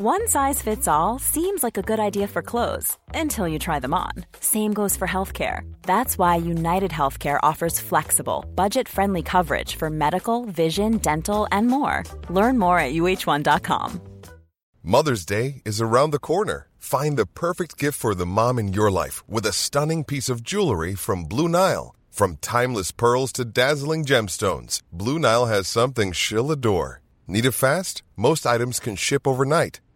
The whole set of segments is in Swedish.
One size fits all seems like a good idea for clothes until you try them on. Same goes for healthcare. That's why United Healthcare offers flexible, budget friendly coverage for medical, vision, dental, and more. Learn more at uh1.com. Mother's Day is around the corner. Find the perfect gift for the mom in your life with a stunning piece of jewelry from Blue Nile. From timeless pearls to dazzling gemstones, Blue Nile has something she'll adore. Need it fast? Most items can ship overnight.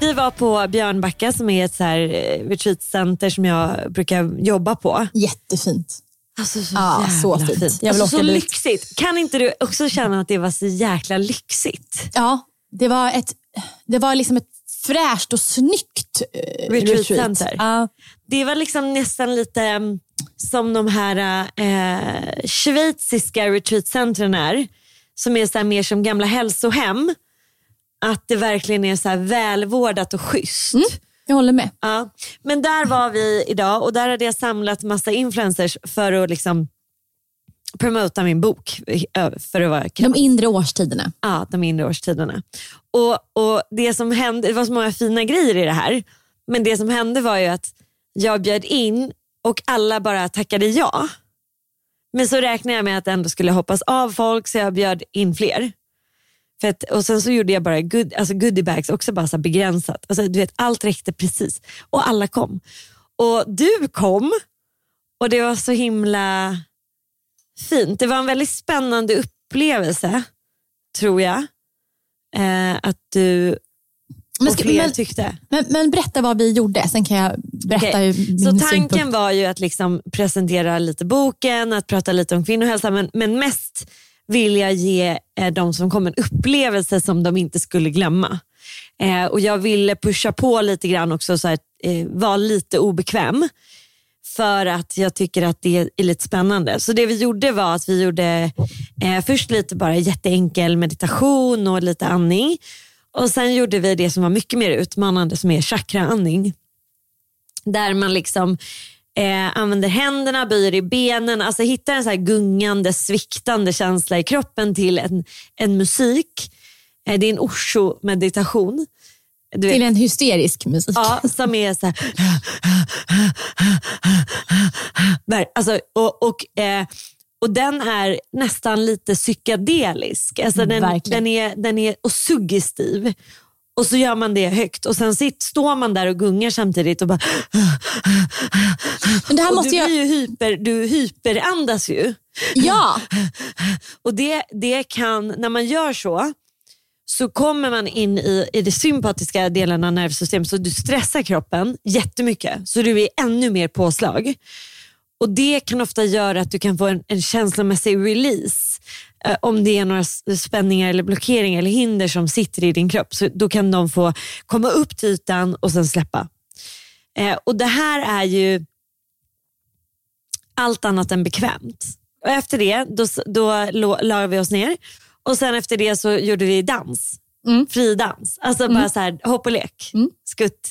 Vi var på Björnbacka som är ett så här eh, retreatcenter som jag brukar jobba på. Jättefint. Alltså så Ja, så jävla fint. Jag vill Alltså, så åka dit. lyxigt. Kan inte du också känna att det var så jäkla lyxigt? Ja, det var, ett, det var liksom ett fräscht och snyggt eh, Retreat retreat. center. Ja. Det var liksom nästan lite mm, som de här eh, schweiziska retreatcentren är. Som är så här mer som gamla hälsohem. Att det verkligen är så här välvårdat och schysst. jag håller med. Ja, men där var vi idag och där hade jag samlat massa influencers för att liksom promota min bok. eh, För att vara De inre årstiderna. Ja, de inre årstiderna. Och, och det som hände, det var så många fina grejer i det här. Men det som hände var ju att jag bjöd in och alla bara tackade ja. Men så räknade jag med att det ändå skulle hoppas av folk så jag bjöd in fler. För att, och sen så gjorde jag bara good, alltså goodiebags, också bara så här begränsat. Alltså, du vet, allt räckte precis och alla kom. Och du kom och det var så himla fint. Det var en väldigt spännande upplevelse tror jag eh, att du Men, och ska, fler men, tyckte. men, men berätta vad vi gjorde, sen kan jag berätta Okej. hur min Så synpunkt. tanken var ju att liksom presentera lite boken, att prata lite om kvinnohälsa men, men mest vill jag ge eh, de som kom en upplevelse som de inte skulle glömma. Eh, och Jag ville pusha på lite grann också, så här, eh, vara lite obekväm för att jag tycker att det är lite spännande. Så det vi gjorde var att vi gjorde eh, först lite bara jätteenkel meditation och lite andning. Och sen gjorde vi det som var mycket mer utmanande som är chakraandning. Där man liksom eh, använder händerna, böjer i benen, alltså hittar en så här gungande, sviktande känsla i kroppen till en, en musik. Eh, det är en osho-meditation. Du vet, Till en hysterisk musik. Ja, som är så här. Ver- Alltså, och, och, eh, och den är nästan lite psykedelisk. Alltså, den, Verkligen. den, är, den är och suggestiv. Och så gör man det högt och sen sitt, står man där och gungar samtidigt och bara... Men det här och måste du, jag... blir ju hyper, du hyperandas ju. Ja, Och det, det kan, när man gör så, så kommer man in i, i de sympatiska delarna av nervsystemet så du stressar kroppen jättemycket så du blir ännu mer påslag. Och Det kan ofta göra att du kan få en, en känslomässig release eh, om det är några s- spänningar, eller blockeringar eller hinder som sitter i din kropp. Så Då kan de få komma upp till ytan och sen släppa. Eh, och Det här är ju allt annat än bekvämt. Och efter det då, då lo- la vi oss ner och sen efter det så gjorde vi dans. Mm. Fridans. Alltså bara så här, hopp och lek. Mm. Skutt.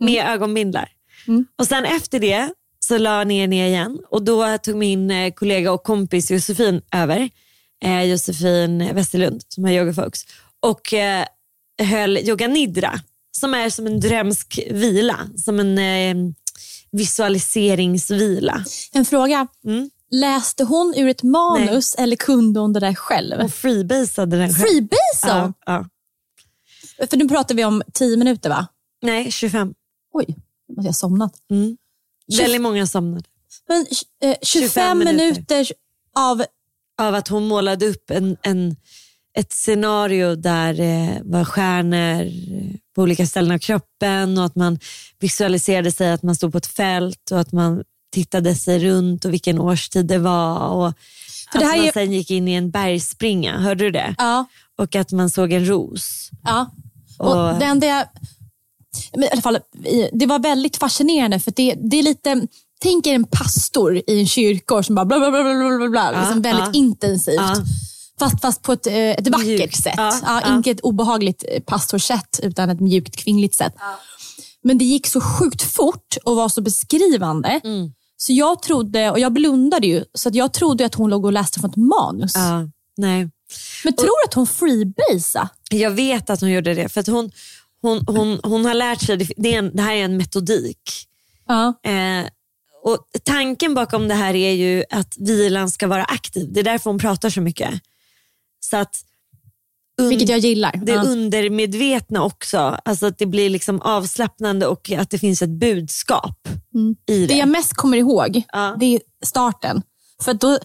Med ögonbindlar. Mm. Och sen efter det så la jag ner, ner igen och då tog min eh, kollega och kompis Josefin över. Eh, Josefin Westerlund som har Yoga Folks. Och eh, höll yoga nidra som är som en drömsk vila. Som en eh, visualiseringsvila. en fråga. Mm. Läste hon ur ett manus eller kunde hon det där själv? Och freebasade den själv. Freebase Ja, hon? ja. För nu pratar vi om 10 minuter va? Nej, 25. Oj, nu måste jag ha somnat. Tjugo- Mm. Väldigt många somnade. Men eh, 25, 25 minuter. minuter. av... Av att hon målade upp en, en, ett scenario där eh, var stjärnor eh, på olika ställen av kroppen och att man visualiserade sig att man stod på ett fält och att man tittade sig runt och vilken årstid det var. Och För att det här är man ju- sen gick in i en bergsspringa, hörde du det? Ja, Och att man såg en ros. ja. Och Och- det enda jag... men I alla fall, i- det var väldigt fascinerande för det, det är lite... Tänk er en pastor i en kyrkogård som bara bla bla bla bla bla bla, liksom väldigt ja. intensivt. Ja. Fast, fast på ett, eh, ett vackert Mjukt. sätt. Ja, Ja, ja. Inte ett obehagligt eh, pastorsätt utan ett mjukt kvinnligt sätt. Men det gick så sjukt fort och var så beskrivande. Mm. Så jag trodde, och jag blundade ju, så att jag trodde att hon låg och läste från ett manus. Ja, nej. Men tror att hon freebasea? Jag vet att hon gjorde det. För att hon, hon, hon, hon har lärt sig, det, är en, det här är en metodik. Ja. Eh, och tanken bakom det här är ju att vilan ska vara aktiv. Det är därför hon pratar så mycket. Så att un- Vilket jag gillar. det Ja. undermedvetna också, alltså att det blir liksom avslappnande och att det finns ett budskap i det. Det jag mest kommer ihåg, Ja. det är starten. För att då,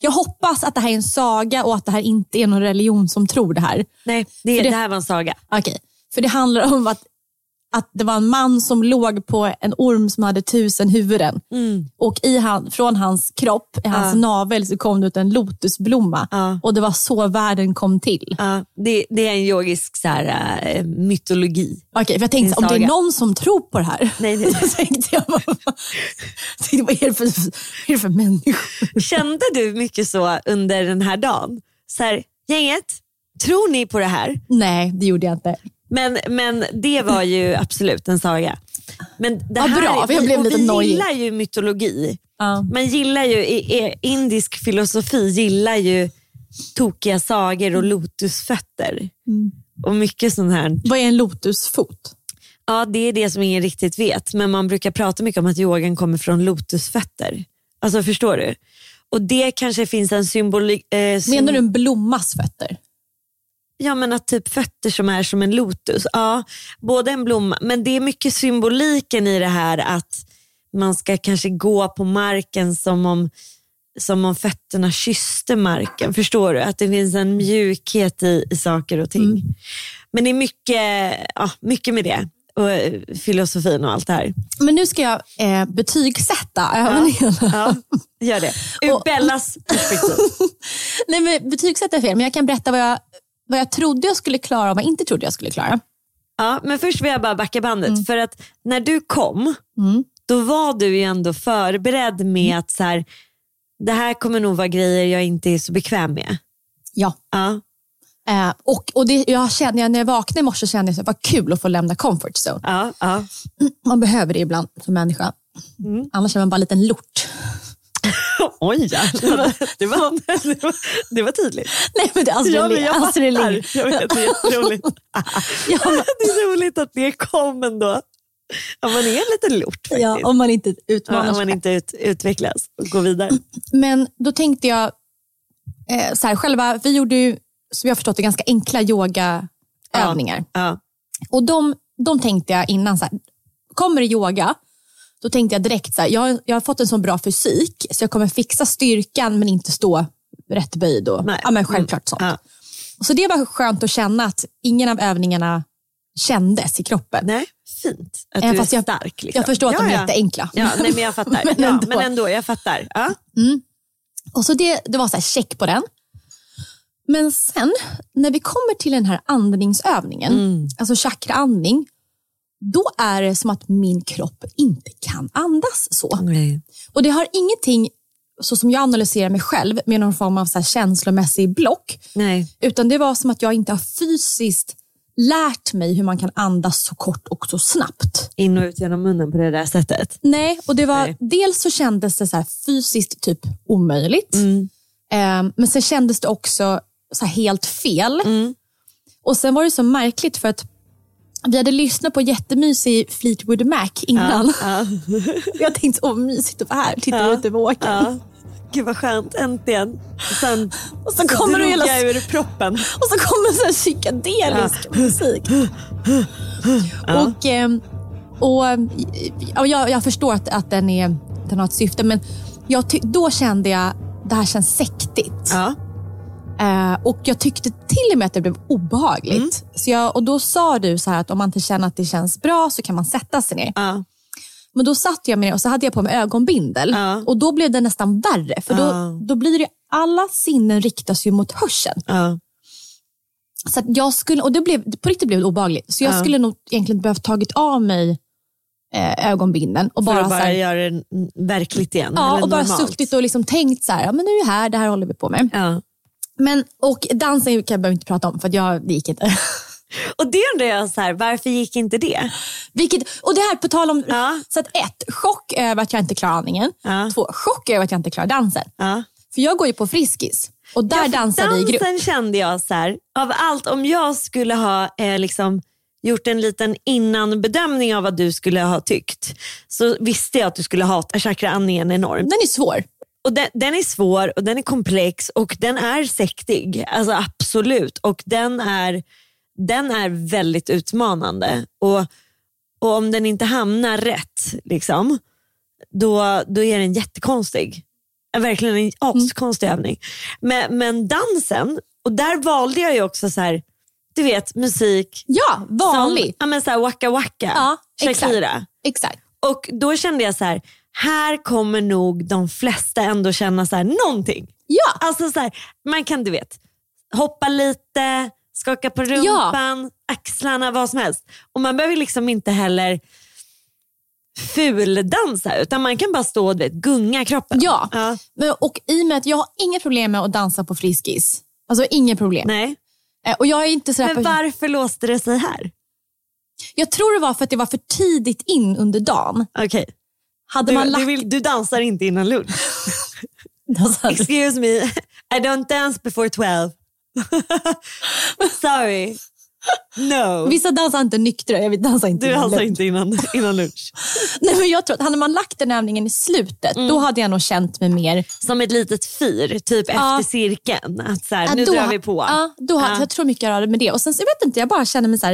jag hoppas att det här är en saga och att det här inte är någon religion som tror det här. Nej, det, för det... det- här var en saga. Okej, för det handlar om att, att det var en man som låg på en orm som hade tusen huvuden. Mm. Och i han, från hans kropp, i hans navel, så kom det ut en lotusblomma. Ja. Och det var så världen kom till. Ja, det, det är en yogisk så här, eh, mytologi. Okej, för jag tänkte Det är en om det saga. är någon som tror på det här. Nej, nej. Så tänkte jag, bara, jag tänkte, vad är det för, vad är det för människor? Kände du mycket så under den här dagen? Så här, gänget, tror ni på det här? Nej, det gjorde jag inte. Men, men det var ju absolut en saga. Men det Ja, här, bra, för jag blev och lite vi nojig. gillar ju mytologi. Ja. Man gillar ju, i- i- indisk filosofi gillar ju tokiga sagor och lotusfötter. Mm. Och mycket sånt här. Vad är en lotusfot? Ja, det är det som ingen riktigt vet. Men man brukar prata mycket om att yogan kommer från lotusfötter. Alltså förstår du? Och det kanske finns en symbolik... Eh, sym- Menar du en blommas fötter? Ja men att typ fötter som är som en lotus. Ja, både en blomma. Men det är mycket symboliken i det här att man ska kanske gå på marken som om, som om fötterna kysste marken. Förstår du? Att det finns en mjukhet i, i saker och ting. Men det är mycket, ja, mycket med det. Och eh, filosofin och allt det här. Men nu ska jag eh, betygsätta övningen. Ja, gör det. Ur Och- Bellas perspektiv. Nej, men betygsätta är fel, men jag kan berätta vad jag, vad jag trodde jag skulle klara och vad jag inte trodde jag skulle klara. Ja, men först vill jag bara backa bandet. Mm. För att när du kom, då var du ju ändå förberedd med att så här, det här kommer nog vara grejer jag inte är så bekväm med. Ja. Ja, Eh, och och det, jag kände, när jag vaknade i morse kände jag att det var kul att få lämna comfort zone. ja, ja. Man behöver det ibland som människa. Annars är man bara en liten lort. Oj, jävlar. det var, det var, det var tydligt. Nej, men Alltså, det Ja, är Astrid men Lindgren. jag Astrid fattar. Lindgren. Jag vet, det är jätteroligt. Ja, men- Det är roligt att det kom ändå. Ja, man är en liten lort faktiskt. Ja, om man inte utmanar Ja, om sig man själv. inte ut, utvecklas och går vidare. Mm. Men då tänkte jag, eh, så här, själva, vi gjorde ju, som jag har förstått det, ganska enkla yogaövningar. Ja, Och de, de tänkte jag innan, så här, kommer det yoga, då tänkte jag direkt så här, jag, jag har fått en så bra fysik så jag kommer fixa styrkan men inte stå rätt böjd. Och, Nej. Mm. ja, men självklart sånt. ja. Så det var skönt att känna att ingen av övningarna kändes i kroppen. Nej, fint att Även du är fast jag- stark. Liksom. Jag förstår att ja, de är ja. jätteenkla. Ja, nej, men jag fattar. Men men, ändå. ändå. Ja, men ändå, jag fattar. Ja. Och så det, det var så här check på den. Men sen när vi kommer till den här andningsövningen, alltså chakraandning, då är det som att min kropp inte kan andas så. Nej. Och det har ingenting, så som jag analyserar mig själv, med någon form av så här känslomässig block, Nej. utan det var som att jag inte har fysiskt lärt mig hur man kan andas så kort och så snabbt. In och ut genom munnen på det där sättet. Nej, och det var, Nej. dels så kändes det så här fysiskt typ omöjligt. Mm. Ehm, men sen kändes det också så här helt fel. Mm. Och sen var det så märkligt för att vi hade lyssnat på jättemysig Fleetwood Mac innan. Ja. Jag tänkte, åh mysigt att vara här, titta ut över åkern. Gud vad skönt, äntligen. Sen, Och så kommer drog du hela- jag ur proppen. Och så kommer så här psykedelisk musik. Och, ehm, och, ja, jag, jag förstår att, att den, är, den har ett syfte, men jag ty- då kände jag det här känns sektigt. Ja. Eh, och jag tyckte till och med att det blev obehagligt. Mm. Så jag, och då sa du så här att om man inte känner att det känns bra så kan man sätta sig ner. Ja. Men då satt jag mig ner och så hade jag på mig ögonbindel. Ja. Och då blev det nästan värre. För då, Ja. då blir det alla sinnen riktas ju mot hörseln. Ja. Så att jag skulle, och det blev, på riktigt blev det obehagligt. Så jag Ja. skulle nog egentligen behövt tagit av mig eh, ögonbinden och För bara, att bara så här, göra det n- verkligt igen. ja, eller och bara normalt. suttit och liksom tänkt så här, ja, men nu är vi här, det här håller vi på med. Ja. Men, och dansen kan jag bara inte prata om för att jag, det gick inte. Och det undrar jag, så här, varför gick inte det? Vilket, och det här på tal om, Ja. så att ett, chock över att jag inte klarar andningen. Ja. Två, chock över att jag inte klarar dansen. Ja. För jag går ju på Friskis och där Ja, för dansar vi i grupp. Alltså, Dansen kände jag så här, av allt om jag skulle ha eh, liksom gjort en liten innan-bedömning av vad du skulle ha tyckt så visste jag att du skulle hata chakraandningen enormt. Den är svår. Och den, den är svår och den är komplex och den är sektig, alltså absolut. Och den är, den är väldigt utmanande. Och, och om den inte hamnar rätt, liksom, då, då är den jättekonstig. Är Verkligen en askonstig Mm. övning. Men, men dansen, och där valde jag ju också så här, du vet musik Ja, som vanlig. ja, men så här, Waka Waka, Ja, exakt. Shakira. Exakt. Och då kände jag så här, här kommer nog de flesta ändå känna så här, någonting. Ja, Alltså så här, man kan du vet, hoppa lite, skaka på rumpan, axlarna, vad som helst. Och man behöver liksom inte heller fuldansa utan man kan bara stå och du vet, gunga kroppen. ja. Men, och i och med att jag har inga problem med att dansa på Friskis. Alltså inga problem. Nej. Eh, Och jag är inte sådär Men på, varför låste det sig här? Jag tror det var för att det var för tidigt in under dagen. Okej, Hade man du, lagt... Alltså, du, vill, du dansar inte innan lunch. Excuse me, I don't dance before 12. Sorry. No. Vissa dansar inte nyktra, jag vill dansa inte Du innan dansar lunch. inte innan, innan lunch. Nej, men jag tror att hade man lagt den övningen i slutet, då Mm. hade jag nog känt mig mer... som ett litet fyr, typ efter cirkeln. Att så här, nu då, drar vi på. Ja, då, hade- Jag tror mycket jag rörde med det. Och sen så jag vet inte, jag bara känner mig så här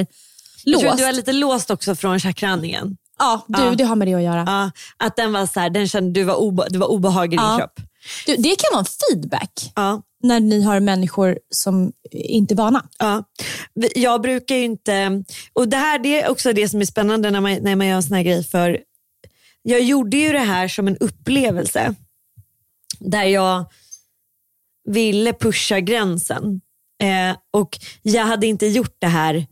jag låst. tror att du är lite låst också från chakraningen. Ja, du, det har med det att göra. Ja, att den var så här, den kände du var, obe, du var obehag i din Ja. kropp. Du, det kan vara en feedback Ja, när ni har människor som inte är vana. ja. Vi- Jag brukar ju inte, och det här det är också det som är spännande när man, när man gör en sån här grej för jag gjorde ju det här som en upplevelse där jag ville pusha gränsen eh, och jag hade inte gjort det här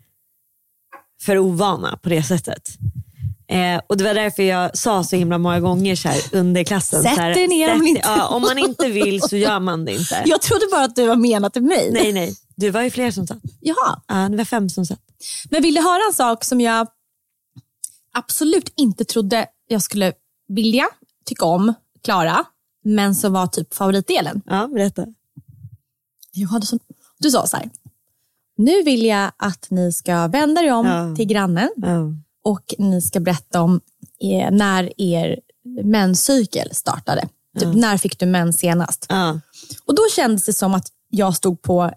för ovana på det sättet. Eh, och Det var därför jag sa så himla många gånger så här under klassen. Sätt så här, dig ner om sätt- inte- ja, om man inte vill så gör man det inte. Jag trodde bara att du var menat till mig. Nej, nej. Du var ju fler som satt. Jaha. Ja, det var fem som satt. Men vill du höra en sak som jag absolut inte trodde jag skulle vilja, tycka om, klara, men som var typ favoritdelen? Ja, berätta. Jag hade sån... Du sa så här, nu vill jag att ni ska vända er om Ja. till grannen Ja. och ni ska berätta om eh, när er menscykel startade. Typ, När fick du mens senast? Ja. Och då kändes det som att jag stod på,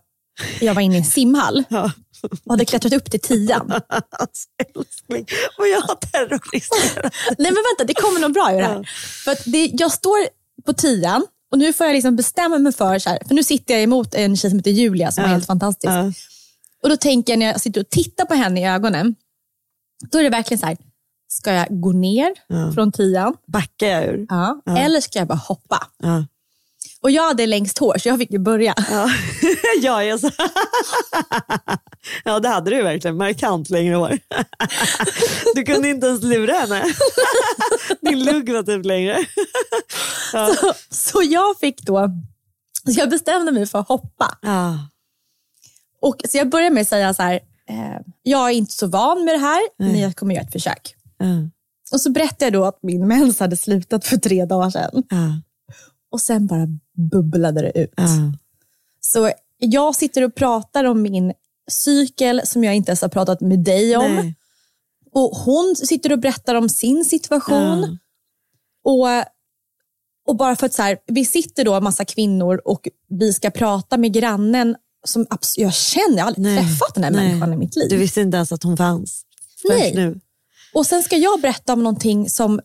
jag var inne i en simhall Ja. och hade klättrat upp till tian. Alltså, älskling, vad jag har terroriserat. Nej men vänta, det kommer nog bra ur det här. För att det, jag står på tian och nu får jag liksom bestämma mig för, så här, för nu sitter jag emot en tjej som heter Julia som är helt fantastisk. Ja. Och då tänker jag när jag sitter och tittar på henne i ögonen, då är det verkligen så här, ska jag gå ner från tian Backar jag ur? ja. eller ska jag bara hoppa? Ja. Och jag hade längst hår så jag fick ju börja. Ja, ja, jag sa. ja det hade du verkligen. Markant längre hår. du kunde inte ens lura henne. Din lugg var typ längre. Så, så jag fick då, så jag bestämde mig för att hoppa. Ja. Och, så jag börjar med att säga så här, eh, jag är inte så van med det här, men jag kommer göra ett försök. Ja. Och så berättade jag då att min mens hade slutat för tre dagar sedan. Ja. Och sen bara bubblade det ut. Ja. Så jag sitter och pratar om min cykel som jag inte ens har pratat med dig om. Nej. Och hon sitter och berättar om sin situation. Ja. Och, Och bara för att så här, vi sitter då en massa kvinnor och vi ska prata med grannen som abs- jag känner, jag har aldrig Nej, träffat den här nej. människan i mitt liv. Du visste inte ens att hon fanns förrän Nej. nu. Och sen ska jag berätta om någonting som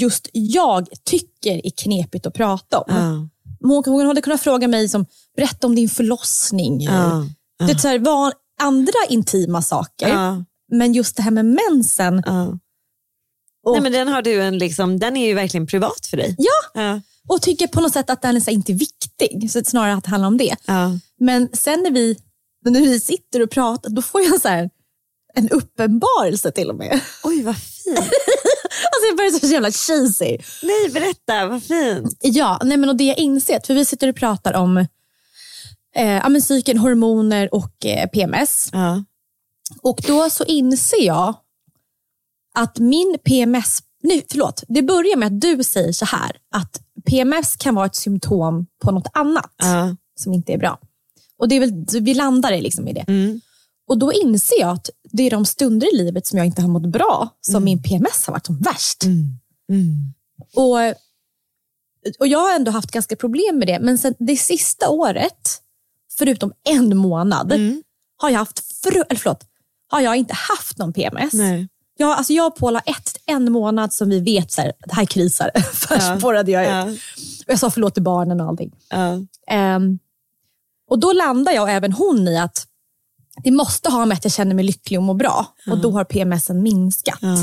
just jag tycker är knepigt att prata om. Ja. Hon, hon hade kunnat fråga mig, som, berätta om din förlossning. Ja. Det är så här, van, andra intima saker, Ja. men just det här med mensen. Ja. Och- Nej, men den, har du en, liksom, den är ju verkligen privat för dig. Ja, Ja. och tycker på något sätt att den är så här, inte viktig, så att snarare att det handlar om det. Ja. Men sen när vi, när vi sitter och pratar, då får jag så här, en uppenbarelse till och med. Oj, vad fint. Alltså jag börjar så jävla cheesy. Nej, berätta, vad fint. Ja, nej men och det jag insett, för vi sitter och pratar om eh, ja, men cykeln, hormoner och eh, PMS. Ja. Och då så inser jag att min PMS, nej förlåt, det börjar med att du säger så här, att PMS kan vara ett symptom på något annat Ja. som inte är bra. Och det är väl, vi landar i liksom i det. Mm. Och då inser jag att det är de stunder i livet som jag inte har mått bra som min PMS har varit som värst. Mm. Och, och Jag har ändå haft ganska problem med det, men sen det sista året, förutom en månad, Mm. har jag haft fru- eller förlåt, har jag inte haft någon PMS. Nej. Jag, alltså jag och Paul har ett, en månad som vi vet, så här, det här krisar. Först Ja. spårade jag ut. Ja. Och Jag sa förlåt till barnen och allting. Ja. Ehm, och då landar jag och även hon i att det måste ha med att jag känner mig lycklig och mår bra. Och då har PMSen minskat. Ja.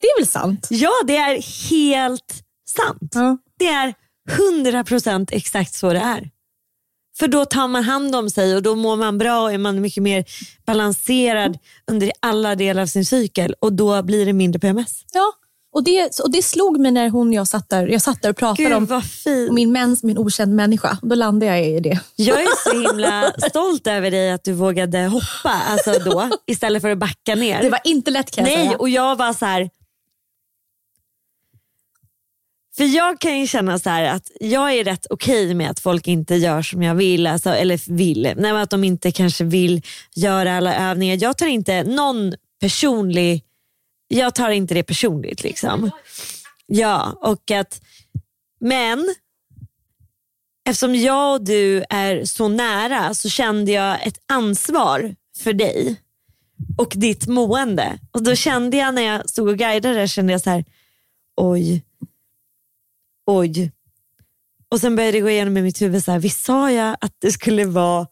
Det är väl sant? ja, det är helt sant. Ja. Det är 100% exakt så det är. För då tar man hand om sig och då mår man bra och är man mycket mer balanserad under alla delar av sin cykel och då blir det mindre PMS. Ja, och det, och det slog mig när hon och jag satt där, jag satt där och pratade Gud om, vad om fint. min mens med en okänd människa. Då landade jag i det. Jag är så himla stolt över dig att du vågade hoppa alltså då, istället för att backa ner. Det var inte lätt kan jag Nej, säga. och jag var så här. För jag kan ju känna så här att jag är rätt okej med att folk inte gör som jag vill. Alltså, eller vill. Nej, men att de inte kanske vill göra alla övningar. Jag tar inte någon personlig... Jag tar inte det personligt. liksom. Ja, och att... Men eftersom jag och du är så nära så kände jag ett ansvar för dig och ditt mående. Och då kände jag när jag stod och guidade kände jag så här, oj, oj. Och sen började det gå igenom i mitt huvud, så här, visst sa jag att det skulle vara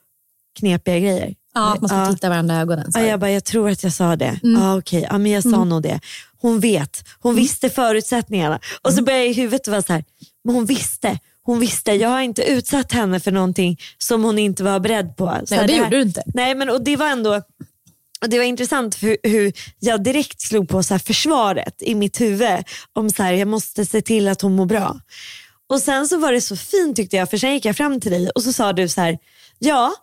knepiga grejer? Ja, att man ska Ja. titta varandra i ögonen. Så. Ja, här. jag bara, jag tror att jag sa det. Ja, okej. Ja, men jag sa nog det. Hon vet. Hon visste förutsättningarna. Och så började jag i huvudet vara så här, men hon visste. Hon visste. Jag har inte utsatt henne för någonting som hon inte var beredd på. Så Nej, här, det här- gjorde du inte. Nej, men och det var ändå och det var intressant hur, hur jag direkt slog på så här försvaret i mitt huvud. Om så här, jag måste se till att hon mår bra. Och sen så var det så fint tyckte jag, för sen gick jag fram till dig och så sa du så här, ja,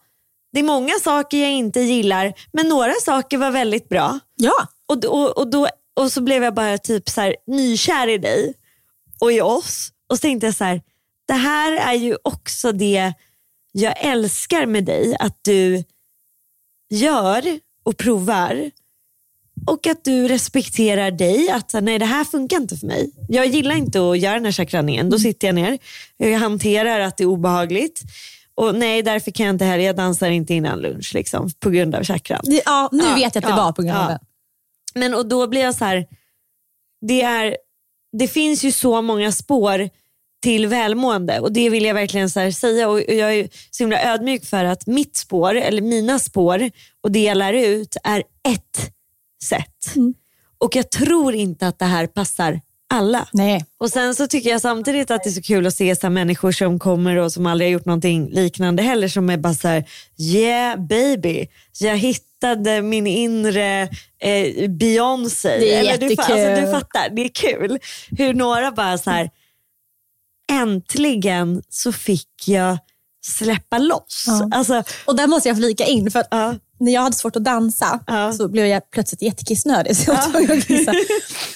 det är många saker jag inte gillar, men några saker var väldigt bra. Ja, Och, då- och, och, då, och så blev jag bara typ så här, nykär i dig och i oss. Och så tänkte jag så här, det här är ju också det jag älskar med dig. Att du gör och provar. Och att du respekterar dig. Att så här, nej, det här funkar inte för mig. Jag gillar inte att göra den här chakranningen. Då sitter jag ner. Jag hanterar att det är obehagligt. Och nej, därför kan jag inte heller. Jag dansar inte innan lunch liksom, på grund av chakran. det, ja nu Ja, vet jag att det ja, var på grund av ja. den. Men och då blir jag så här, det, är, det finns ju så många spår till välmående och det vill jag verkligen så här säga och och jag är ju så himla ödmjuk för att mitt spår, eller mina spår och det jag lär ut är ett sätt. Och jag tror inte att det här passar alla. Nej. Och sen så tycker jag samtidigt att det är så kul att se så här människor som kommer och som aldrig har gjort någonting liknande heller som är bara så här, yeah baby, jag hittade min inre eh, Beyoncé. Det är du, fa- jättekul. alltså, du fattar, det är kul. Hur några bara så här, äntligen så fick jag släppa loss. Ja. Alltså, Och där måste jag flika in, för att ja, när jag hade svårt att dansa Ja. så blev jag plötsligt jättekissnödig. Så jag var tvungen att kissa.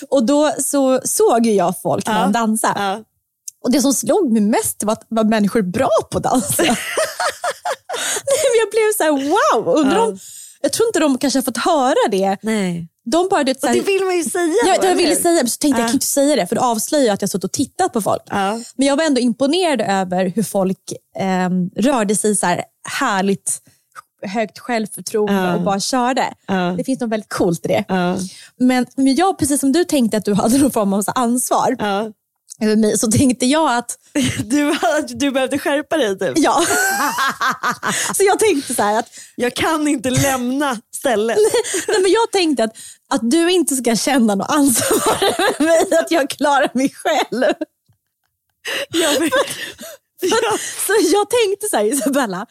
Och då så såg ju jag folk när Ja. de dansade. ja. Och det som slog mig mest var att var människor bra på att dansa. Nej, men jag blev så här, wow! Undrar om, jag tror inte de kanske har fått höra det Nej. de bara, du vet, så Och här- det vill man ju säga. jag, då, jag ville eller? säga men så tänkte jag, jag kan ju inte säga det för då avslöjar jag att jag suttit och tittat på folk. Ja. Men jag var ändå imponerad över hur folk ehm, rörde sig så här härligt högt självförtroende och bara körde. Det finns något väldigt coolt i det. Ja. Men, men jag, precis som du tänkte att du hade någon form av så här ansvar Ja. över mig, så tänkte jag att Du, du behövde skärpa dig typ. ja. så jag tänkte så här att, Jag kan inte lämna stället. nej, men jag tänkte att, att du inte ska känna något ansvar över mig, att jag klarar mig själv. Jag vill- Ja. Så jag tänkte så här, Isabella,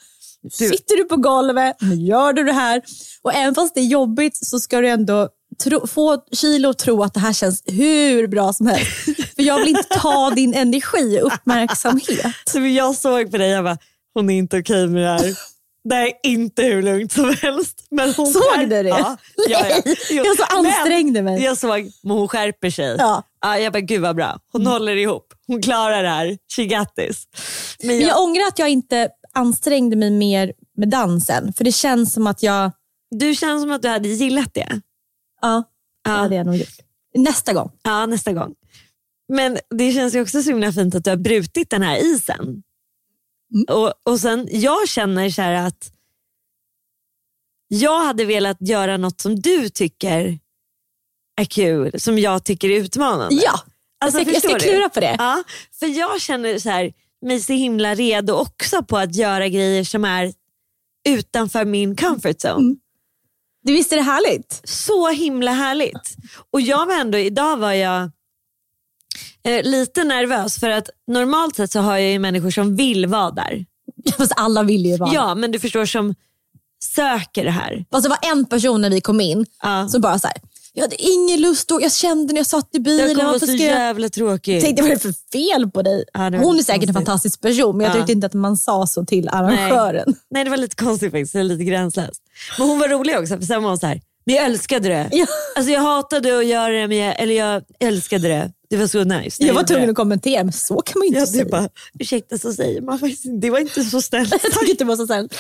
Du- Mm. sitter du på golvet, nu gör du det här och även fast det är jobbigt så ska du ändå tro, få Kilo att tro att det här känns hur bra som helst. För jag vill inte ta din energi och uppmärksamhet. Så jag såg på dig jag bara, hon är inte okej med det här. Det här är inte hur lugnt som helst. Men hon Såg skär- du det? Ja, ja, ja. Nej, Jo, jag så ansträngde men mig. Jag såg, men hon skärper sig. Ja. Mm. jag bara, gud vad bra. Hon håller ihop. Hon klarar det här. She got this. Men Men jag, jag ångrar att jag inte ansträngde mig mer med dansen för det känns som att jag, du känns som att du hade gillat det. ja, det Ja. hade jag nog gjort. Nästa gång. Ja, nästa gång. Men det känns ju också så himla fint att du har brutit den här isen. Mm. Och, och sen, Jag känner så här att jag hade velat göra något som du tycker är kul, som jag tycker är utmanande. Ja, Alltså, jag ska, jag ska förstår du? klura på det. Ja, för jag känner så här, mig så himla redo också på att göra grejer som är utanför min comfort zone Du visst är det härligt? så himla härligt. Och jag var ändå, idag var jag eh, lite nervös för att normalt sett så har jag ju människor som vill vara där. Fast alla vill ju vara Ja, men du förstår som söker det här. Fast det var en person när vi kom in Ja. som bara så här, jag hade ingen lust då, jag kände när jag satt i Det bilen, kommer vara varför så ska jag... jävla tråkigt. Jag tänkte vad är det för fel på dig? Ja, det var Hon är lite säkert en konstigt. fantastisk person men jag Ja. tyckte inte att man sa så till arrangören. Nej, det var lite konstigt faktiskt. Det är Lite gränslöst. Men hon var rolig också, för sen var hon så här, men jag älskade det. Ja. Alltså jag hatade att göra det, men jag, eller jag älskade det. Det var så nice. när Jag var gjorde tvungen det. att kommentera men så kan man ju inte Ja, säga. du bara, ursäkta så säger man faktiskt inte. Det var inte så snällt. Jag tycker inte det var så snällt.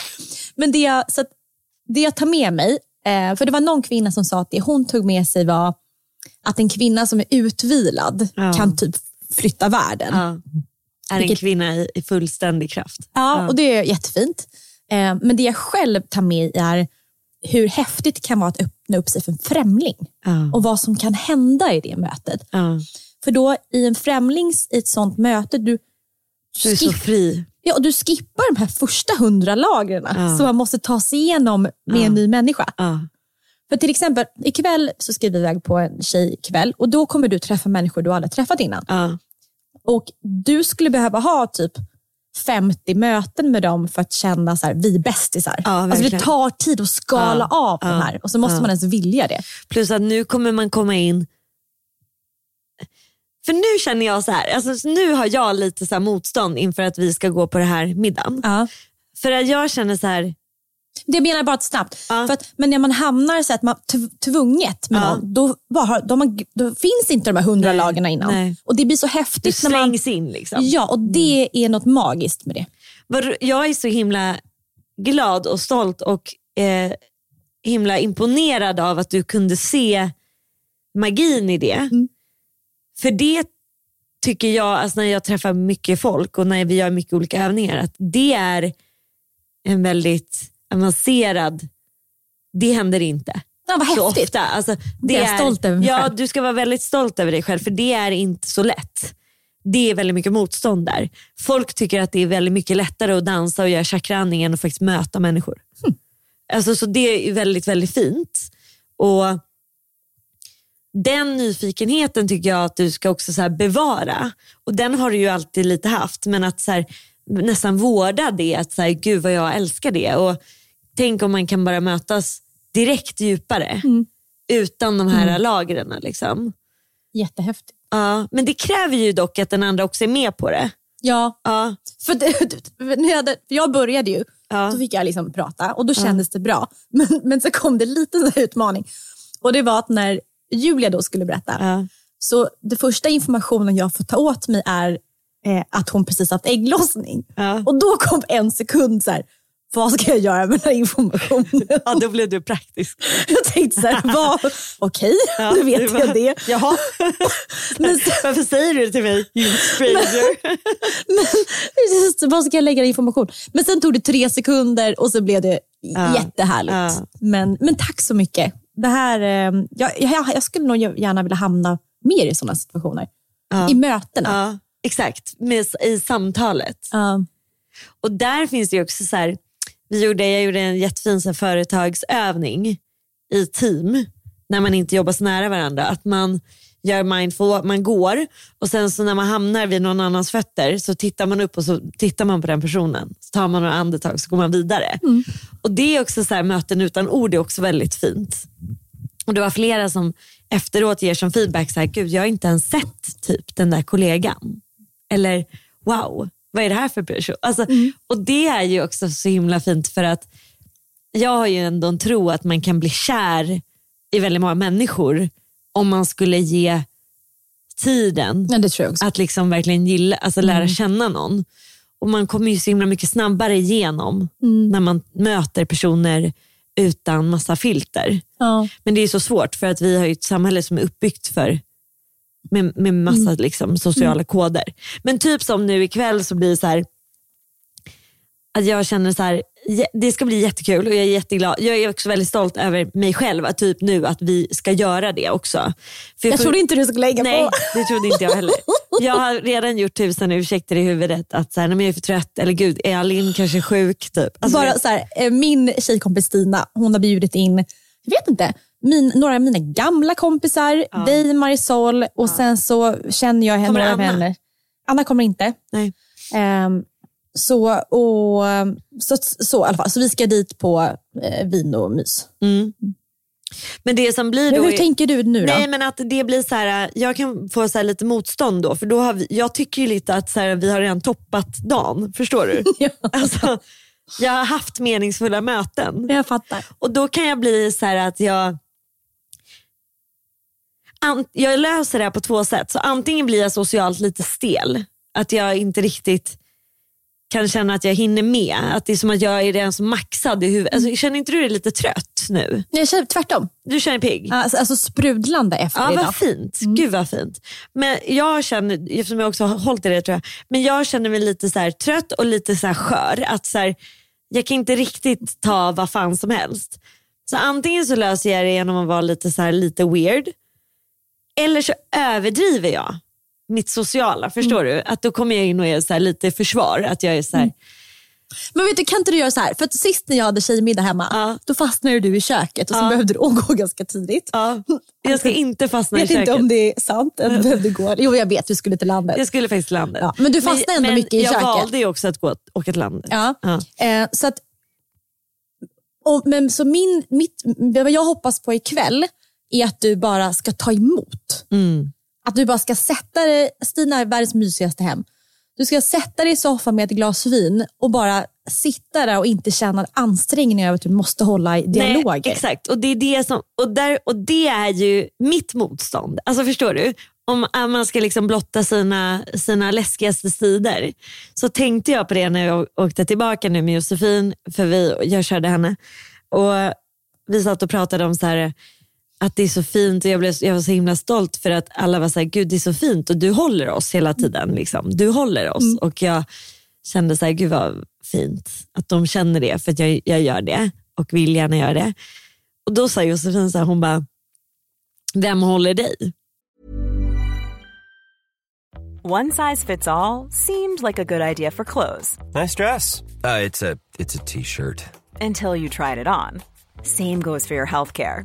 Men det jag, så att, det jag tar med mig, eh, för det var någon kvinna som sa att det hon tog med sig var att en kvinna som är utvilad Ja. kan typ flytta världen. Ja. Är en Vilket- kvinna i, i fullständig kraft. Ja, och det är jättefint. Eh, Men det jag själv tar med är hur häftigt det kan vara att öppna upp sig för en främling Ja. och vad som kan hända i det mötet. Ja. För då i en främlings, i ett sånt möte, du, Du är så skip- fri. ja, och du skippar de här första hundra lagren Ja. som man måste ta sig igenom med en ny människa. Ja. För till exempel, ikväll så ska vi iväg på en tjejkväll och då kommer du träffa människor du aldrig träffat innan. Ja. Och du skulle behöva ha typ 50 möten med dem för att känna så här, vi är bästisar. Ja, alltså det verkligen. tar tid att skala av de här och så måste man ens vilja det. Plus att nu kommer man komma in... För nu känner jag så här, alltså nu har jag lite så här motstånd inför att vi ska gå på det här middagen. För att jag känner så här, Det menar jag bara snabbt. Ja. För att, men när man hamnar så att man tv- tvunget med Ja. någon, då, bara, har- då, har man, då finns inte de här hundra Nej, lagren innan. nej. Och det blir så du häftigt. när man, slängs Mm. in liksom. Ja, och det är något magiskt med det. Vad- Jag är så himla glad och stolt och eh, himla imponerad av att du kunde se magin i det. För det tycker jag, alltså när jag träffar mycket folk och när vi gör mycket olika övningar, att det är en väldigt avancerad, det händer inte Ja, vad så häftigt. ofta. Alltså, det Jag är stolt över mig Ja, själv. du ska vara väldigt stolt över dig själv för det är inte så lätt. Det är väldigt mycket motstånd där. Folk tycker att det är väldigt mycket lättare att dansa och göra chakraning än att faktiskt möta människor. Mm. Alltså, så det är väldigt, väldigt fint. Och den nyfikenheten tycker jag att du ska också så här bevara. Och den har du ju alltid lite haft, men att så här, nästan vårda det. Att så här, gud vad jag älskar det. Och tänk om man kan bara mötas direkt djupare. Mm. Utan de här lagren. Liksom. Jättehäftigt. Ja, men det kräver ju dock att den andra också är med på det. Ja, Ja, För, det, för när jag hade, för jag började ju, Ja. då fick jag liksom prata och då kändes det bra. Men, men så kom det lite så här utmaning. Och det var att när Julia då skulle berätta, ja, så det första informationen jag får ta åt mig är eh, att hon precis haft ägglossning. ja. Och då kom en sekund så här, vad ska jag göra med den här informationen? Ja, då blev du praktisk. Jag tänkte så här, vad, okej, Ja, nu vet du bara, jag det. Jaha. Men, så- Varför säger du det till mig, you stranger? men just, vad ska jag lägga i information? Men sen tog det tre sekunder och så blev det jättehärligt. ja. Men, men tack så mycket. Det här, eh, jag, jag, jag skulle nog gärna vilja hamna mer i sådana situationer. I mötena. ja, exakt. Med, I samtalet. Ja. Och där finns det ju också så här, vi gjorde, jag gjorde en jättefin så här företagsövning i team när man inte jobbar så nära varandra. Att man gör mindful, man går och sen så när man hamnar vid någon annans fötter så tittar man upp och så tittar man på den personen. Så tar man några andetag så går man vidare. Och det är också så här, möten utan ord är också väldigt fint. Och det var flera som efteråt ger som feedback så här, gud jag har inte ens sett typ den där kollegan. Eller wow, vad är det här för person? Alltså, Och det är ju också så himla fint för att jag har ju ändå en tro att man kan bli kär i väldigt många människor om man skulle ge tiden Ja, det tror jag också. att liksom verkligen gilla, alltså lära känna någon. Och Man kommer ju så himla mycket snabbare igenom när man möter personer utan massa filter. Ja. Men det är så svårt för att vi har ju ett samhälle som är uppbyggt för med, med massa Mm. liksom, sociala koder. Men typ som nu ikväll så blir det så här att jag känner så här, "Ja, det ska bli jättekul och jag är jätteglad. Jag är också väldigt stolt över mig själv att typ nu att vi ska göra det också. För Jag tror- trodde inte du skulle lägga Nej, på. det trodde inte jag heller. Jag har redan gjort tusen ursäkter i huvudet. Att så här, nej, men jag är för trött eller gud, är Alin kanske sjuk? Typ. Alltså, Bara så här, eh, min tjejkompis Stina, hon har bjudit in, jag vet inte, min, några av mina gamla kompisar, dig Marisol och sen så känner jag henne. Kommer några Anna? vänner. Anna kommer inte. nej. Ehm, så, och, så, så, i alla fall. så vi ska dit på eh, vin och mys. Men det som blir Men då hur är- tänker du nu då? Nej men att det blir så här, äh, jag kan få så här lite motstånd då för då har vi, jag tycker ju lite att så här, vi har redan toppat dagen, förstår du? Ja. alltså, jag har haft meningsfulla möten Jag fattar. och då kan jag bli så här att jag an, jag löser det här på två sätt. Så antingen blir jag socialt lite stel, att jag inte riktigt kan känna att jag hinner med. Att det är som att jag är redan så maxad i huvudet. Alltså, känner inte du dig lite trött nu? Jag känner tvärtom. Du känner pigg? Alltså, alltså sprudlande efter Ja, idag. vad fint. Mm. Gud vad fint. Men jag känner, eftersom jag också har hållit i det tror jag, men jag känner mig lite så här trött och lite så här skör. Att så här, jag kan inte riktigt ta vad fan som helst. Så antingen så löser jag det genom att vara lite, så här, lite weird. Eller så överdriver jag mitt sociala. Förstår Mm. du? Att då kommer jag in och är så här lite i försvar. Att jag är så här, Men vet du, kan inte du göra så här? För att sist när jag hade tejmiddag hemma, Ja. då fastnade du i köket och så Ja. behövde du gå ganska tidigt. ja, jag ska inte Jag fastna i vet köket. inte om det är sant att du behövde gå. Jo, jag vet, du skulle till landet. Jag skulle faktiskt till landet. Ja, men du fastnar ändå men mycket i jag köket. valde ju också att gå, åka till landet. Ja. Ja. Eh, så att, och, men, så min, mitt, vad jag hoppas på ikväll är att du bara ska ta emot. Att du bara ska sätta dig, Stina är världens mysigaste hem. Du ska sätta dig i soffan med ett glas vin och bara sitta där och inte känna ansträngning över att du måste hålla i dialoger. Nej, exakt, och det, är det, som, och, där, och det är ju mitt motstånd. Alltså förstår du? Om om man ska liksom blotta sina, sina läskigaste sidor. Så tänkte jag på det när jag åkte tillbaka nu med Josefin, för vi, jag körde henne. Och Vi satt och pratade om så här, att det är så fint och jag, blev, jag var så himla stolt för att alla var så här, gud det är så fint och du håller oss hela tiden. Liksom. Du håller oss. Och jag kände så här, gud vad fint att de känner det för att jag, jag gör det och vill gärna göra det. Och då sa Josefin så här, hon bara, vem håller dig? One size fits all seemed like a good idea for clothes Nice dress. Uh, it's a it's a t-shirt. until you tried it on. Same goes for your healthcare.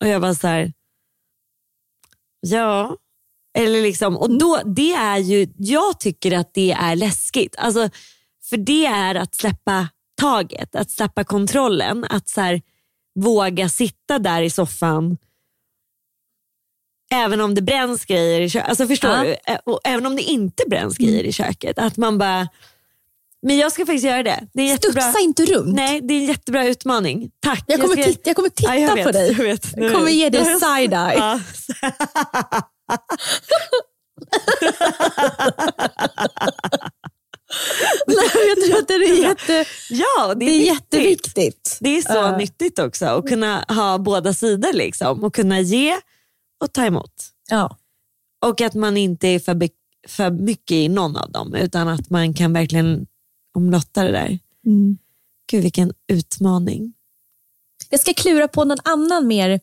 Och jag bara så här, ja. Eller liksom, och då, det är ju, jag tycker att det är läskigt. Alltså, för det är att släppa taget, att släppa kontrollen. Att så här, våga sitta där i soffan även om det bränns grejer i köket. Alltså, förstår Ja. Mm. du? Ä- Och även om det inte bränns grejer i köket. Att man bara, men jag ska faktiskt göra det. det är jättebra. Studsa inte runt. Nej, det är en jättebra utmaning. Tack. Jag kommer, ska- titta, jag kommer titta Ja, jag vet, på dig. Jag vet. Jag kommer ge dig side-eye. Ja. Nej, jag tror att det är, jätte, Ja, det det är, är viktigt. jätteviktigt. Det är så nyttigt också att kunna ha båda sidor liksom, och kunna ge och ta emot. Ja. Och att man inte är för, be- för mycket i någon av dem utan att man kan verkligen omlotta det där. Mm. Gud vilken utmaning. Jag ska klura på någon annan mer...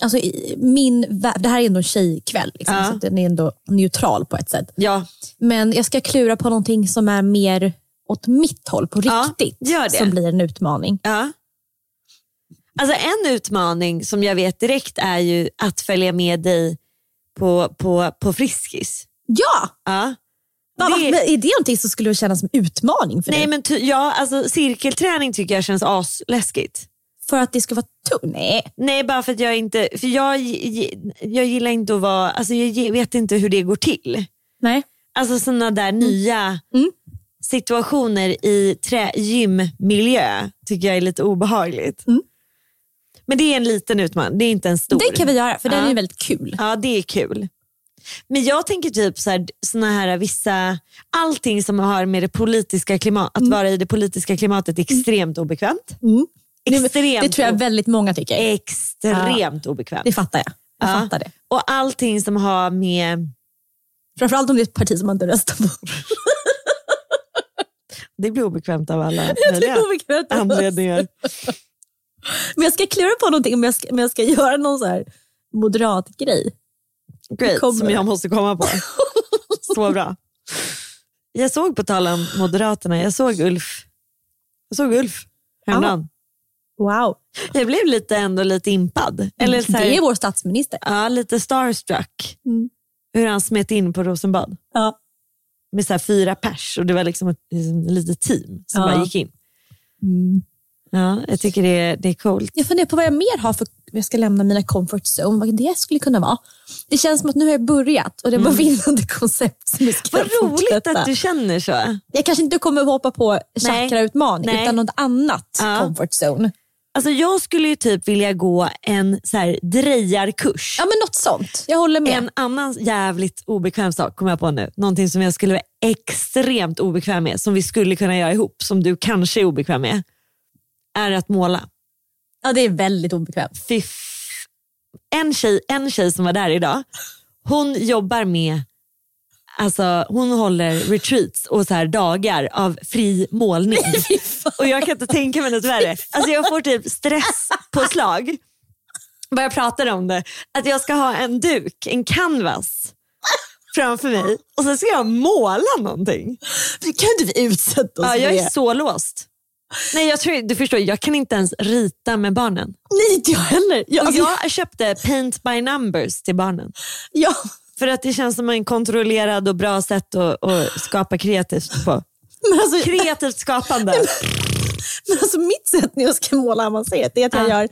Alltså, i- min, vä- det här är ändå en tjejkväll, liksom, Ja. så att den är ändå neutral på ett sätt. Ja, Men jag ska klura på någonting som är mer åt mitt håll, på Ja, riktigt. gör det. Som blir en utmaning. Ja. Alltså en utmaning som jag vet direkt är ju att följa med dig på, på, på Friskis. Ja! Ja. Va, va, Det- men är det någonting som skulle kännas som utmaning för Nej dig? men ty, ja, alltså, cirkelträning tycker jag känns asläskigt. För att det skulle vara tungt? Nej. Nej bara för att jag inte, för jag, jag gillar inte att vara, alltså jag ge- vet inte hur det går till. Nej. Alltså sådana där nya Mm. situationer i trä, gymmiljö tycker jag är lite obehagligt. Mm. Men det är en liten utmaning, det är inte en stor. Den kan vi göra, för den Ja. är väldigt kul. Ja, det är kul. Men jag tänker typ så här, såna här vissa, allting som har med det politiska klimatet, att vara i det politiska klimatet är extremt obekvämt. Mm. Det- Extremt, Det tror jag o- väldigt många tycker. extremt obekvämt. Det fattar jag. Jag Eh. Ja. fattar det. Och allting som har med, Framförallt om det är ett parti som man inte röstar på. det blir obekvämt av alla Det möjliga är obekvämt. anledningar. Men jag ska klura på någonting om jag ska, om jag ska göra någon så här moderat grej. Great, kommer. som jag måste komma på. Så bra. Jag såg på tal om Moderaterna, jag såg Ulf, jag såg Ulf häromdagen. Wow. Jag blev lite ändå lite impad. Eller så här, Det är vår statsminister. Ja, lite starstruck. Mm. Hur han smet in på Rosenbad Ja. med så här fyra pers och det var liksom ett liksom ett litet team som Ja. Mm. bara gick in. Ja, jag tycker det är, det är coolt. Jag funderar på vad jag mer har för jag ska lämna mina comfort zone, vad det skulle kunna vara. Det känns som att nu har jag börjat och det var vinnande koncept som vi ska Vad roligt fortsätta. att du känner så. Jag kanske inte kommer hoppa på chakrautmaning Nej. utan något annat Ja. comfort zone. Alltså jag skulle ju typ vilja gå en så här drejarkurs. Ja men något sånt, jag håller med. En annan jävligt obekväm sak kom jag på nu. Någonting som jag skulle vara extremt obekväm med, som vi skulle kunna göra ihop, som du kanske är obekväm med, är att måla. Ja det är väldigt obekvämt. Fy f- en, tjej, en tjej som var där idag, hon jobbar med, alltså hon håller retreats och så här dagar av fri målning. och jag kan inte tänka mig något värre. Alltså jag får typ stress på slag bara jag pratar om det. Att jag ska ha en duk, en canvas framför mig och sen ska jag måla någonting. Kan inte vi utsätta oss Ja, för jag är Alltså, det? så låst. Nej, jag tror, du förstår, jag kan inte ens rita med barnen. Nej inte jag heller. Jag, Och alltså, jag... jag köpte paint by numbers till barnen. Jag, För att det känns som en kontrollerad och bra sätt att, att skapa kreativt på. men alltså, Kreativt skapande. Men alltså mitt sätt när jag ska måla avancerat är att jag gör,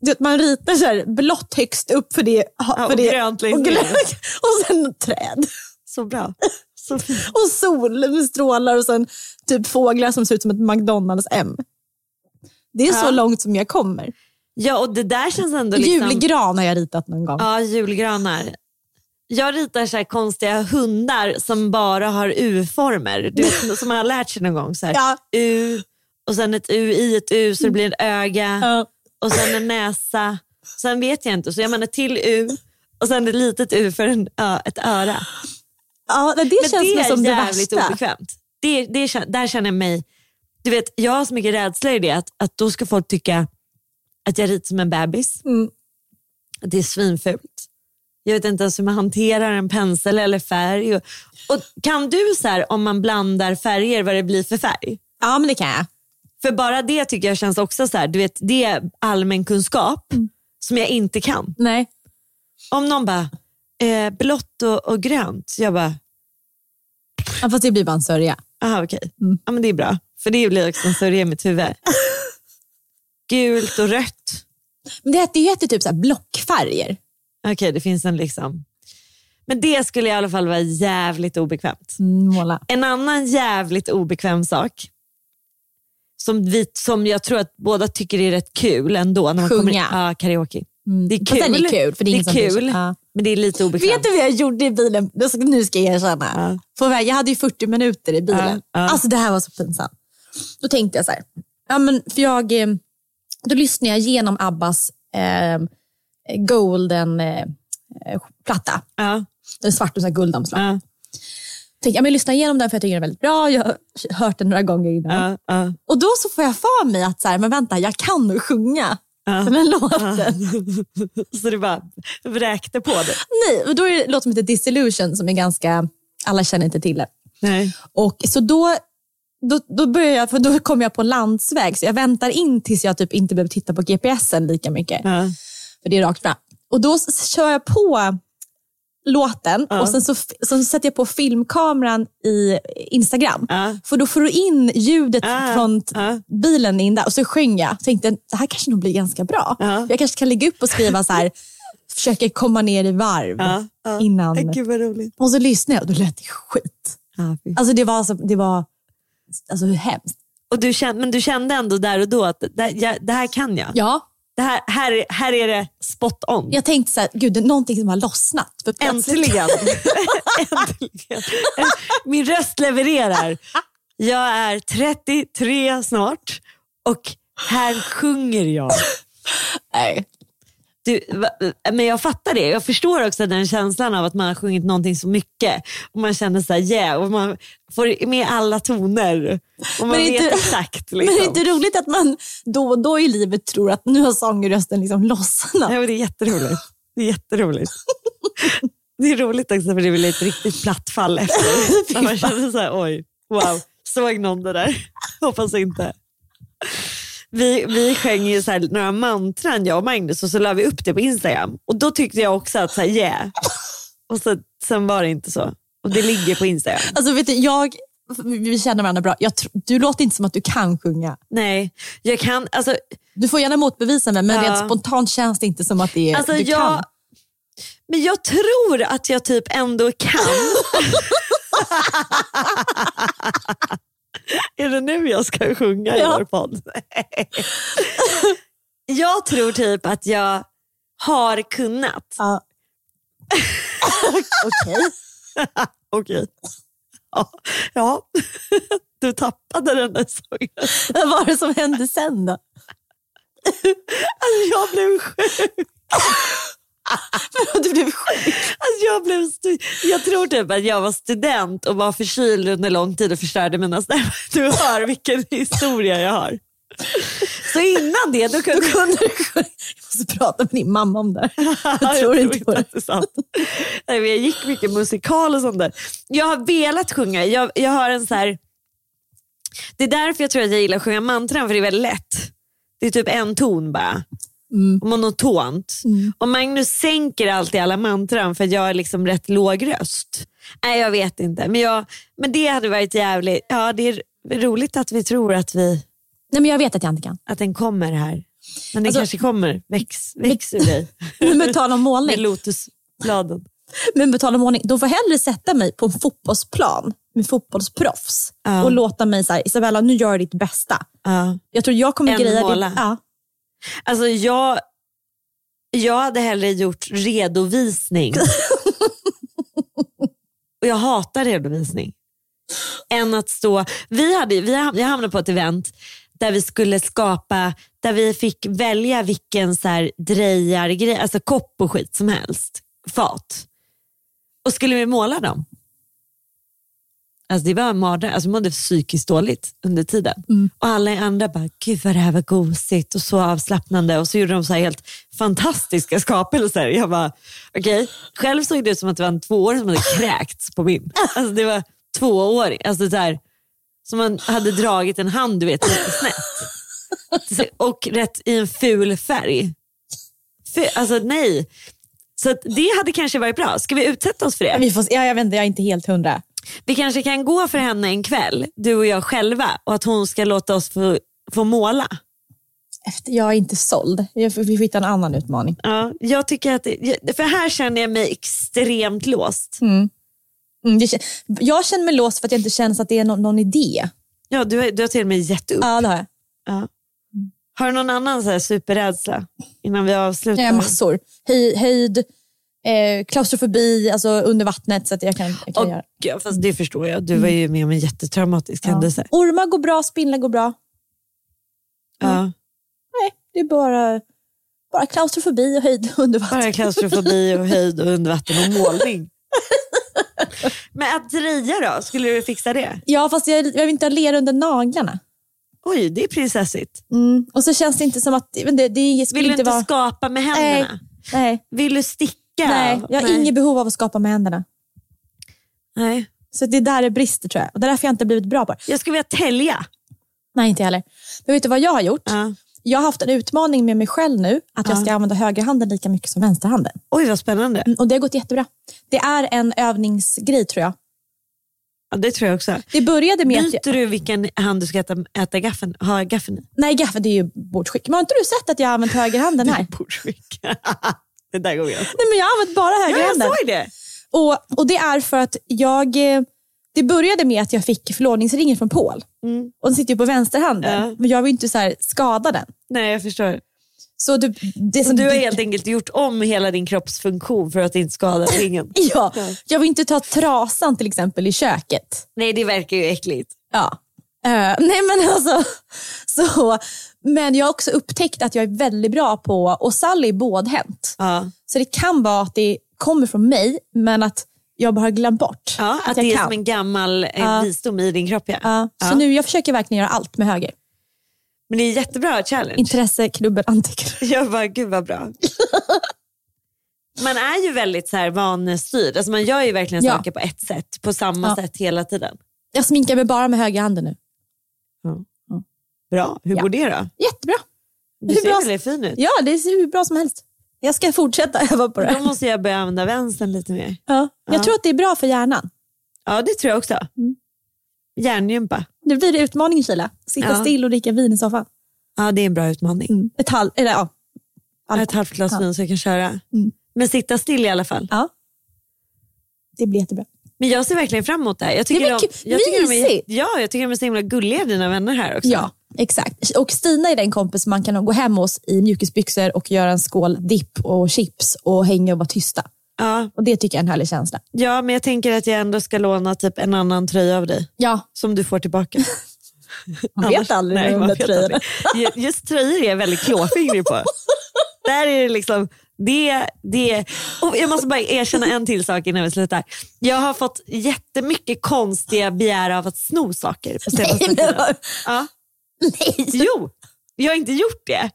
du vet, man ritar så här blått högst upp för det, ha- Ja, för och det grönt längst och, ner. grönt, och sen träd Så bra. Så fint. och solstrålar och sen typ fåglar som ser ut som ett McDonalds M. Det är så långt som jag kommer. Ja, och det där känns ändå liksom... Julgran har jag ritat någon gång. Ja, julgranar. Jag ritar så här konstiga hundar som bara har U-former. Du vet, som man har lärt sig någon gång. Så här. Ja. U och sen ett U i ett U så det blir ett öga Ja. och sen en näsa. Sen vet jag inte, så jag menar till U och sen ett litet U för en, ö, ett öra. Ja, det Men känns det mig är som det jävligt värsta. obekvämt. Det, det, kän- där känner jag mig... Du vet, jag har så mycket rädsla i det att, att då ska folk tycka att jag ritar som en bebis. Mm. Att det är svinfult. Jag vet inte ens hur man hanterar en pensel eller färg. Och, och kan du så här, om man blandar färger, vad det blir för färg? Ja, men det kan jag. För bara det tycker jag känns också så här, du vet, det är allmän kunskap som jag inte kan. Nej. Om någon bara, eh, blått och, och grönt, jag bara, Ja, fast det blir bara en sörja. Aha, okej. Ja, men det är bra. För det blir också en sörja i mitt huvud. Gult och rött. Men det heter ju heter typ så här blockfärger. Okej, det finns en liksom. Men det skulle i alla fall vara jävligt obekvämt. Mm, Måla. En annan jävligt obekväm sak som, vi, som jag tror att båda tycker är rätt kul ändå. När man Sjunga. Mm. Kommer in, ja, karaoke. Det är Fast kul. den är kul, för det är ingen som bryr sig. kul, Ja. men det är lite obekvämt. Vet du vad jag gjorde i bilen? Det ska- Nu ska jag erkänna. Ja. På väg, jag hade ju 40 minuter i bilen. Ja, ja. Alltså det här var så pinsamt. Då tänkte jag så här. Ja, men för jag, eh, då lyssnade jag igenom Abbas eh, Golden-platta. Ja, den är svart och så här guldomslag. ja, Tänkte, ja, men jag lyssnar igenom den för jag tycker den är väldigt bra. Jag har hört den några gånger innan. ja, ja. Och då så får jag för mig att så här, men vänta, jag kan nog sjunga den här låten. Så du bara vräkte på det. Nej, och då är det en låt som heter Disillusion som är ganska, alla känner inte till den. Nej. Och så då, då, då börjar jag, för då kommer jag på landsväg, så jag väntar in tills jag typ inte behöver titta på GPSen lika mycket, Ja. för det är rakt fram. Och då s- kör jag på låten och sen så, f- sen så sätter jag på filmkameran i Instagram. Ja. För då får du in ljudet Ah, från t- ah. bilen in där och så sjöng jag. Tänkte det här kanske nog blir ganska bra. Ja. Jag kanske kan lägga upp och skriva så här, försöker komma ner i varv Ja, ja. innan. Gud vad roligt. Och så lyssnade jag och då lät det skit. Ja, fy Alltså det var, så, det var alltså, hur hemskt. Och du kände, men du kände ändå där och då att det, ja, det här kan jag. Ja. Det här, här, här är det spot on. Jag tänkte så här, gud det är någonting som har lossnat. För plötsligt- Äntligen. Äntligen. Min röst levererar. Jag är 33 snart och här sjunger jag. Nej. Du, va, men jag fattar det. Jag förstår också den känslan av att man har sjungit någonting så mycket och man känner så här, yeah, och man får med alla toner och man Men vet inte- exakt. Men det Liksom. är inte roligt att man då och då i livet tror att nu har sångrösten liksom lossnat. Ja, men det är jätteroligt. Det är jätteroligt. Det är roligt också för det blir ett riktigt platt fall efter. När Man känner så här, oj, wow, såg någon det där? Hoppas inte. Vi, vi sjöng ju så här några mantran, jag och Magnus, och så la vi upp det på Instagram. Och Då tyckte jag också att, så här, yeah. Och så, sen var det inte så. Och det ligger på Instagram. Alltså vet du, jag, vi vi känner varandra bra. Jag tr- du låter inte som att du kan sjunga. Nej, jag kan, alltså, Du får gärna motbevisa mig, men Ja. rent spontant känns det inte som att det är, Alltså, du jag, kan. Men jag tror att jag typ ändå kan. Är det nu jag ska sjunga i Ja. vår podd? jag tror typ att jag har kunnat. Ja. Okej. Okej. Ja. ja, du tappade den där sången. Vad var det som hände sen då? Alltså, Jag blev sjuk. Du blev sjuk. Alltså jag, blev stu- jag tror typ att jag var student och var förkyld under lång tid och förstörde mina stämmor. Du hör vilken historia jag har. Så innan det, då kunde, Då kunde du sjunga. Jag måste prata med din mamma om det här. Ja, Jag tror inte på det. att är sant. Nej, men jag gick mycket musikal och sånt där. Jag har velat sjunga. Jag, jag har en så här... Det är därför jag tror att jag gillar att sjunga mantran, för det är väldigt lätt. Det är typ en ton bara. Mm. Och monotont. Och Magnus sänker alltid alla mantran för att jag är liksom rätt låg röst. Nej, jag vet inte. Men, jag, men det hade varit jävligt... Ja, det är roligt att vi tror att vi Nej, men jag vet att jag inte kan. Att den kommer här. Men den Alltså- kanske kommer. Väx, väx ur dig. Men på tal om målning. Med lotusbladen. Men på tal om ordning, de får hellre sätta mig på en fotbollsplan med fotbollsproffs Ja. och låta mig säga Isabella, nu gör du ditt bästa. Ja. Jag tror jag kommer Än greja måla. det. Ja. Alltså jag, jag hade hellre gjort redovisning. och jag hatar redovisning. Än att stå... Vi hade, vi ham- jag hamnade på ett event där vi skulle skapa, där vi fick välja vilken så här drejargrej, alltså kopp och skit som helst, fat. Och skulle vi måla dem. Alltså det var en mardröm. Alltså jag mådde psykiskt dåligt under tiden. Och alla andra bara, gud vad det här var gosigt och så avslappnande. Och så gjorde de så här helt fantastiska skapelser. Jag bara, okej. Själv såg det ut som att det var en tvååring som hade kräkts på min. Alltså det var tvååring. Alltså så här, som man hade dragit en hand, du vet, lite snett. Och rätt i en ful färg. Fy- Alltså nej. Så att det hade kanske varit bra. Ska vi utsätta oss för det? Vi får, se. ja, jag vet inte, jag är inte helt hundra. Vi kanske kan gå för henne en kväll, du och jag själva, och att hon ska låta oss få, få måla. Efter, jag är inte såld. Jag, får- vi får hitta en annan utmaning. Ja, jag tycker att, det- för här känner jag mig extremt låst. Mm, jag, känner, jag känner mig låst för att jag inte känner att det är någon, någon idé. Ja, du, har- du har till och med gett upp. Ja, det har jag. Har du någon annan så här superrädsla innan vi avslutar? Jag har Eh, massor. Höj, höjd, eh, klaustrofobi, alltså under vattnet. Så att jag kan, jag kan Åh, göra. Mm. Gud, fast det förstår jag. Du var ju med om en jättetraumatisk händelse. Ormar går bra, spindlar går bra. Mm. Ja. Nej, det är bara, bara klaustrofobi och höjd under vattnet. Bara klaustrofobi och höjd och undervatten och målning. Men att dreja då? Skulle du fixa det? Ja, fast jag, jag vill inte ha ler under naglarna. Oj, det är prinsessigt. Mm. Och så känns det inte som att... Men det, det skulle Vill du inte inte vara... skapa med Nej, händerna? nej, Vill du sticka? nej, jag har inget behov av att skapa med händerna. Nej. Så det är där det brister tror jag. Och det är därför jag inte har blivit bra på det. Jag skulle vilja tälja. Nej, inte jag heller. Men vet du vad jag har gjort? Ja. Jag har haft en utmaning med mig själv nu. Att jag ska använda högerhanden lika mycket som vänsterhanden. Oj, vad spännande. Mm, Och det har gått jättebra. Det är en övningsgrej tror jag. Ja, det tror jag också. Det började med att... Jag, Byter du vilken hand du ska äta, äta gaffeln, ha gaffeln i? nej, gaffeln det är ju bordsskick. Men har inte du sett att jag har använt högerhanden här? Bordsskick. det där går jag. Nej, men jag har använt bara Ja, jag högerhanden. såg det. Och, och det är för att jag... eh, Det började med att jag fick förlovningsringen från Paul. Och den sitter ju på vänsterhanden. Mm. Ja. Men jag vill inte så här skada den. Nej, jag förstår. Så du, det Så som du har helt enkelt gjort om hela din kroppsfunktion för att inte skada ringen? Ja, jag vill inte ta trasan till exempel i köket. Nej, det verkar ju äckligt. Ja. Eh, nej men alltså, så, men jag har också upptäckt att jag är väldigt bra på, och Sally är bådhänt. Ja. Så det kan vara att det kommer från mig, men att jag bara har glömt bort Ja, att, jag det är kan. som en gammal eh, visdom i din kropp. Ja. Ja, så nu jag försöker verkligen göra allt med höger. Men det är jättebra challenge. Intresseklubben antecknar. Jag bara, gud vad bra. Man är ju väldigt så här vanstyrd. Alltså man gör ju verkligen Ja. saker på ett sätt, på samma Ja. sätt hela tiden. Jag sminkar mig bara med höger handen nu. Bra, hur Ja. går det då? Jättebra. Du Hur ser bra- väldigt fin ut. Ja, det ser hur bra som helst. Jag ska fortsätta öva på Då det. måste jag börja använda vänstern lite mer. Ja. Jag tror att det är bra för hjärnan. Ja, det tror jag också. Mm. Hjärngympa. Nu blir det utmaning Kila. Sitta Ja. still och dricka vin i soffan. Ja, det är en bra utmaning. Ett halv, eller ja. Jag har ett halvt glas vin så jag kan köra. Men sitta still i alla fall. Mm. ja. Det blir jättebra. Men jag ser verkligen fram emot det här. Jag tycker, Nej, men de, kul. jag tycker, de, är, Mysigt. ja, jag tycker de är så himla gulliga dina vänner här också. Ja, exakt. Och Stina är den kompis man kan gå hem hos i mjukisbyxor och göra en skål dipp och chips och hänga och vara tysta. Ja, Och Det tycker jag är en härlig känsla. ja, men jag tänker att jag ändå ska låna typ en annan tröja av dig. Ja, som du får tillbaka. man vet aldrig med de man där vet tröjorna. aldrig. Ju- Just tröjor är jag väldigt klåfingrig på. Där är det liksom, det, det. Och jag måste bara erkänna en till sak innan vi slutar. Jag har fått jättemycket konstiga begär av att sno saker på senaste Nej, tiden. men, vad- Ja. nej. Jo, jag har inte gjort det.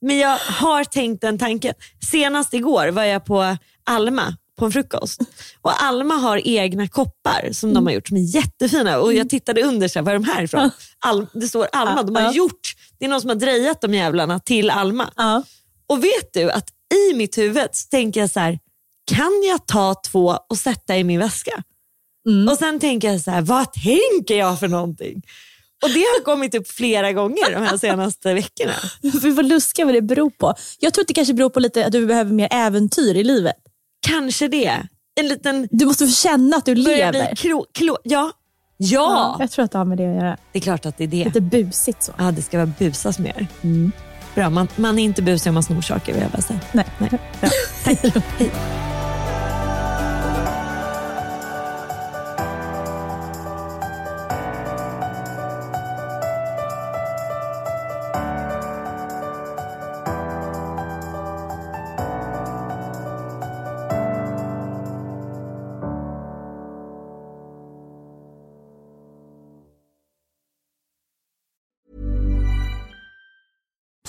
Men jag har tänkt den tanken. Senast igår var jag på Alma på en frukost. Och Alma har egna koppar som de har gjort som är jättefina. Och jag tittade under, så här, var är de här ifrån? Al- det står Alma. De har gjort, det är någon som har drejat de jävlarna till Alma. Ja. Och vet du att i mitt huvud så tänker jag så här, kan jag ta två och Mm. sätta i min väska? Och sen tänker jag så här, vad tänker jag för någonting? Och det har kommit upp flera gånger de här senaste veckorna. Vi får luska vad det beror på. Jag tror att det kanske beror på lite att du behöver mer äventyr i livet. Kanske det. En liten... Du måste få känna att du Börjar bli lever. kro, klo, ja. ja. Jag tror att det har med det att göra. Det är klart att det är det. Lite Mm. busigt så. Ja, det ska vara busas mer. Bra, man, man är inte busig om man snor saker vill jag bara säga. Nej. Bra. Tack. Hej.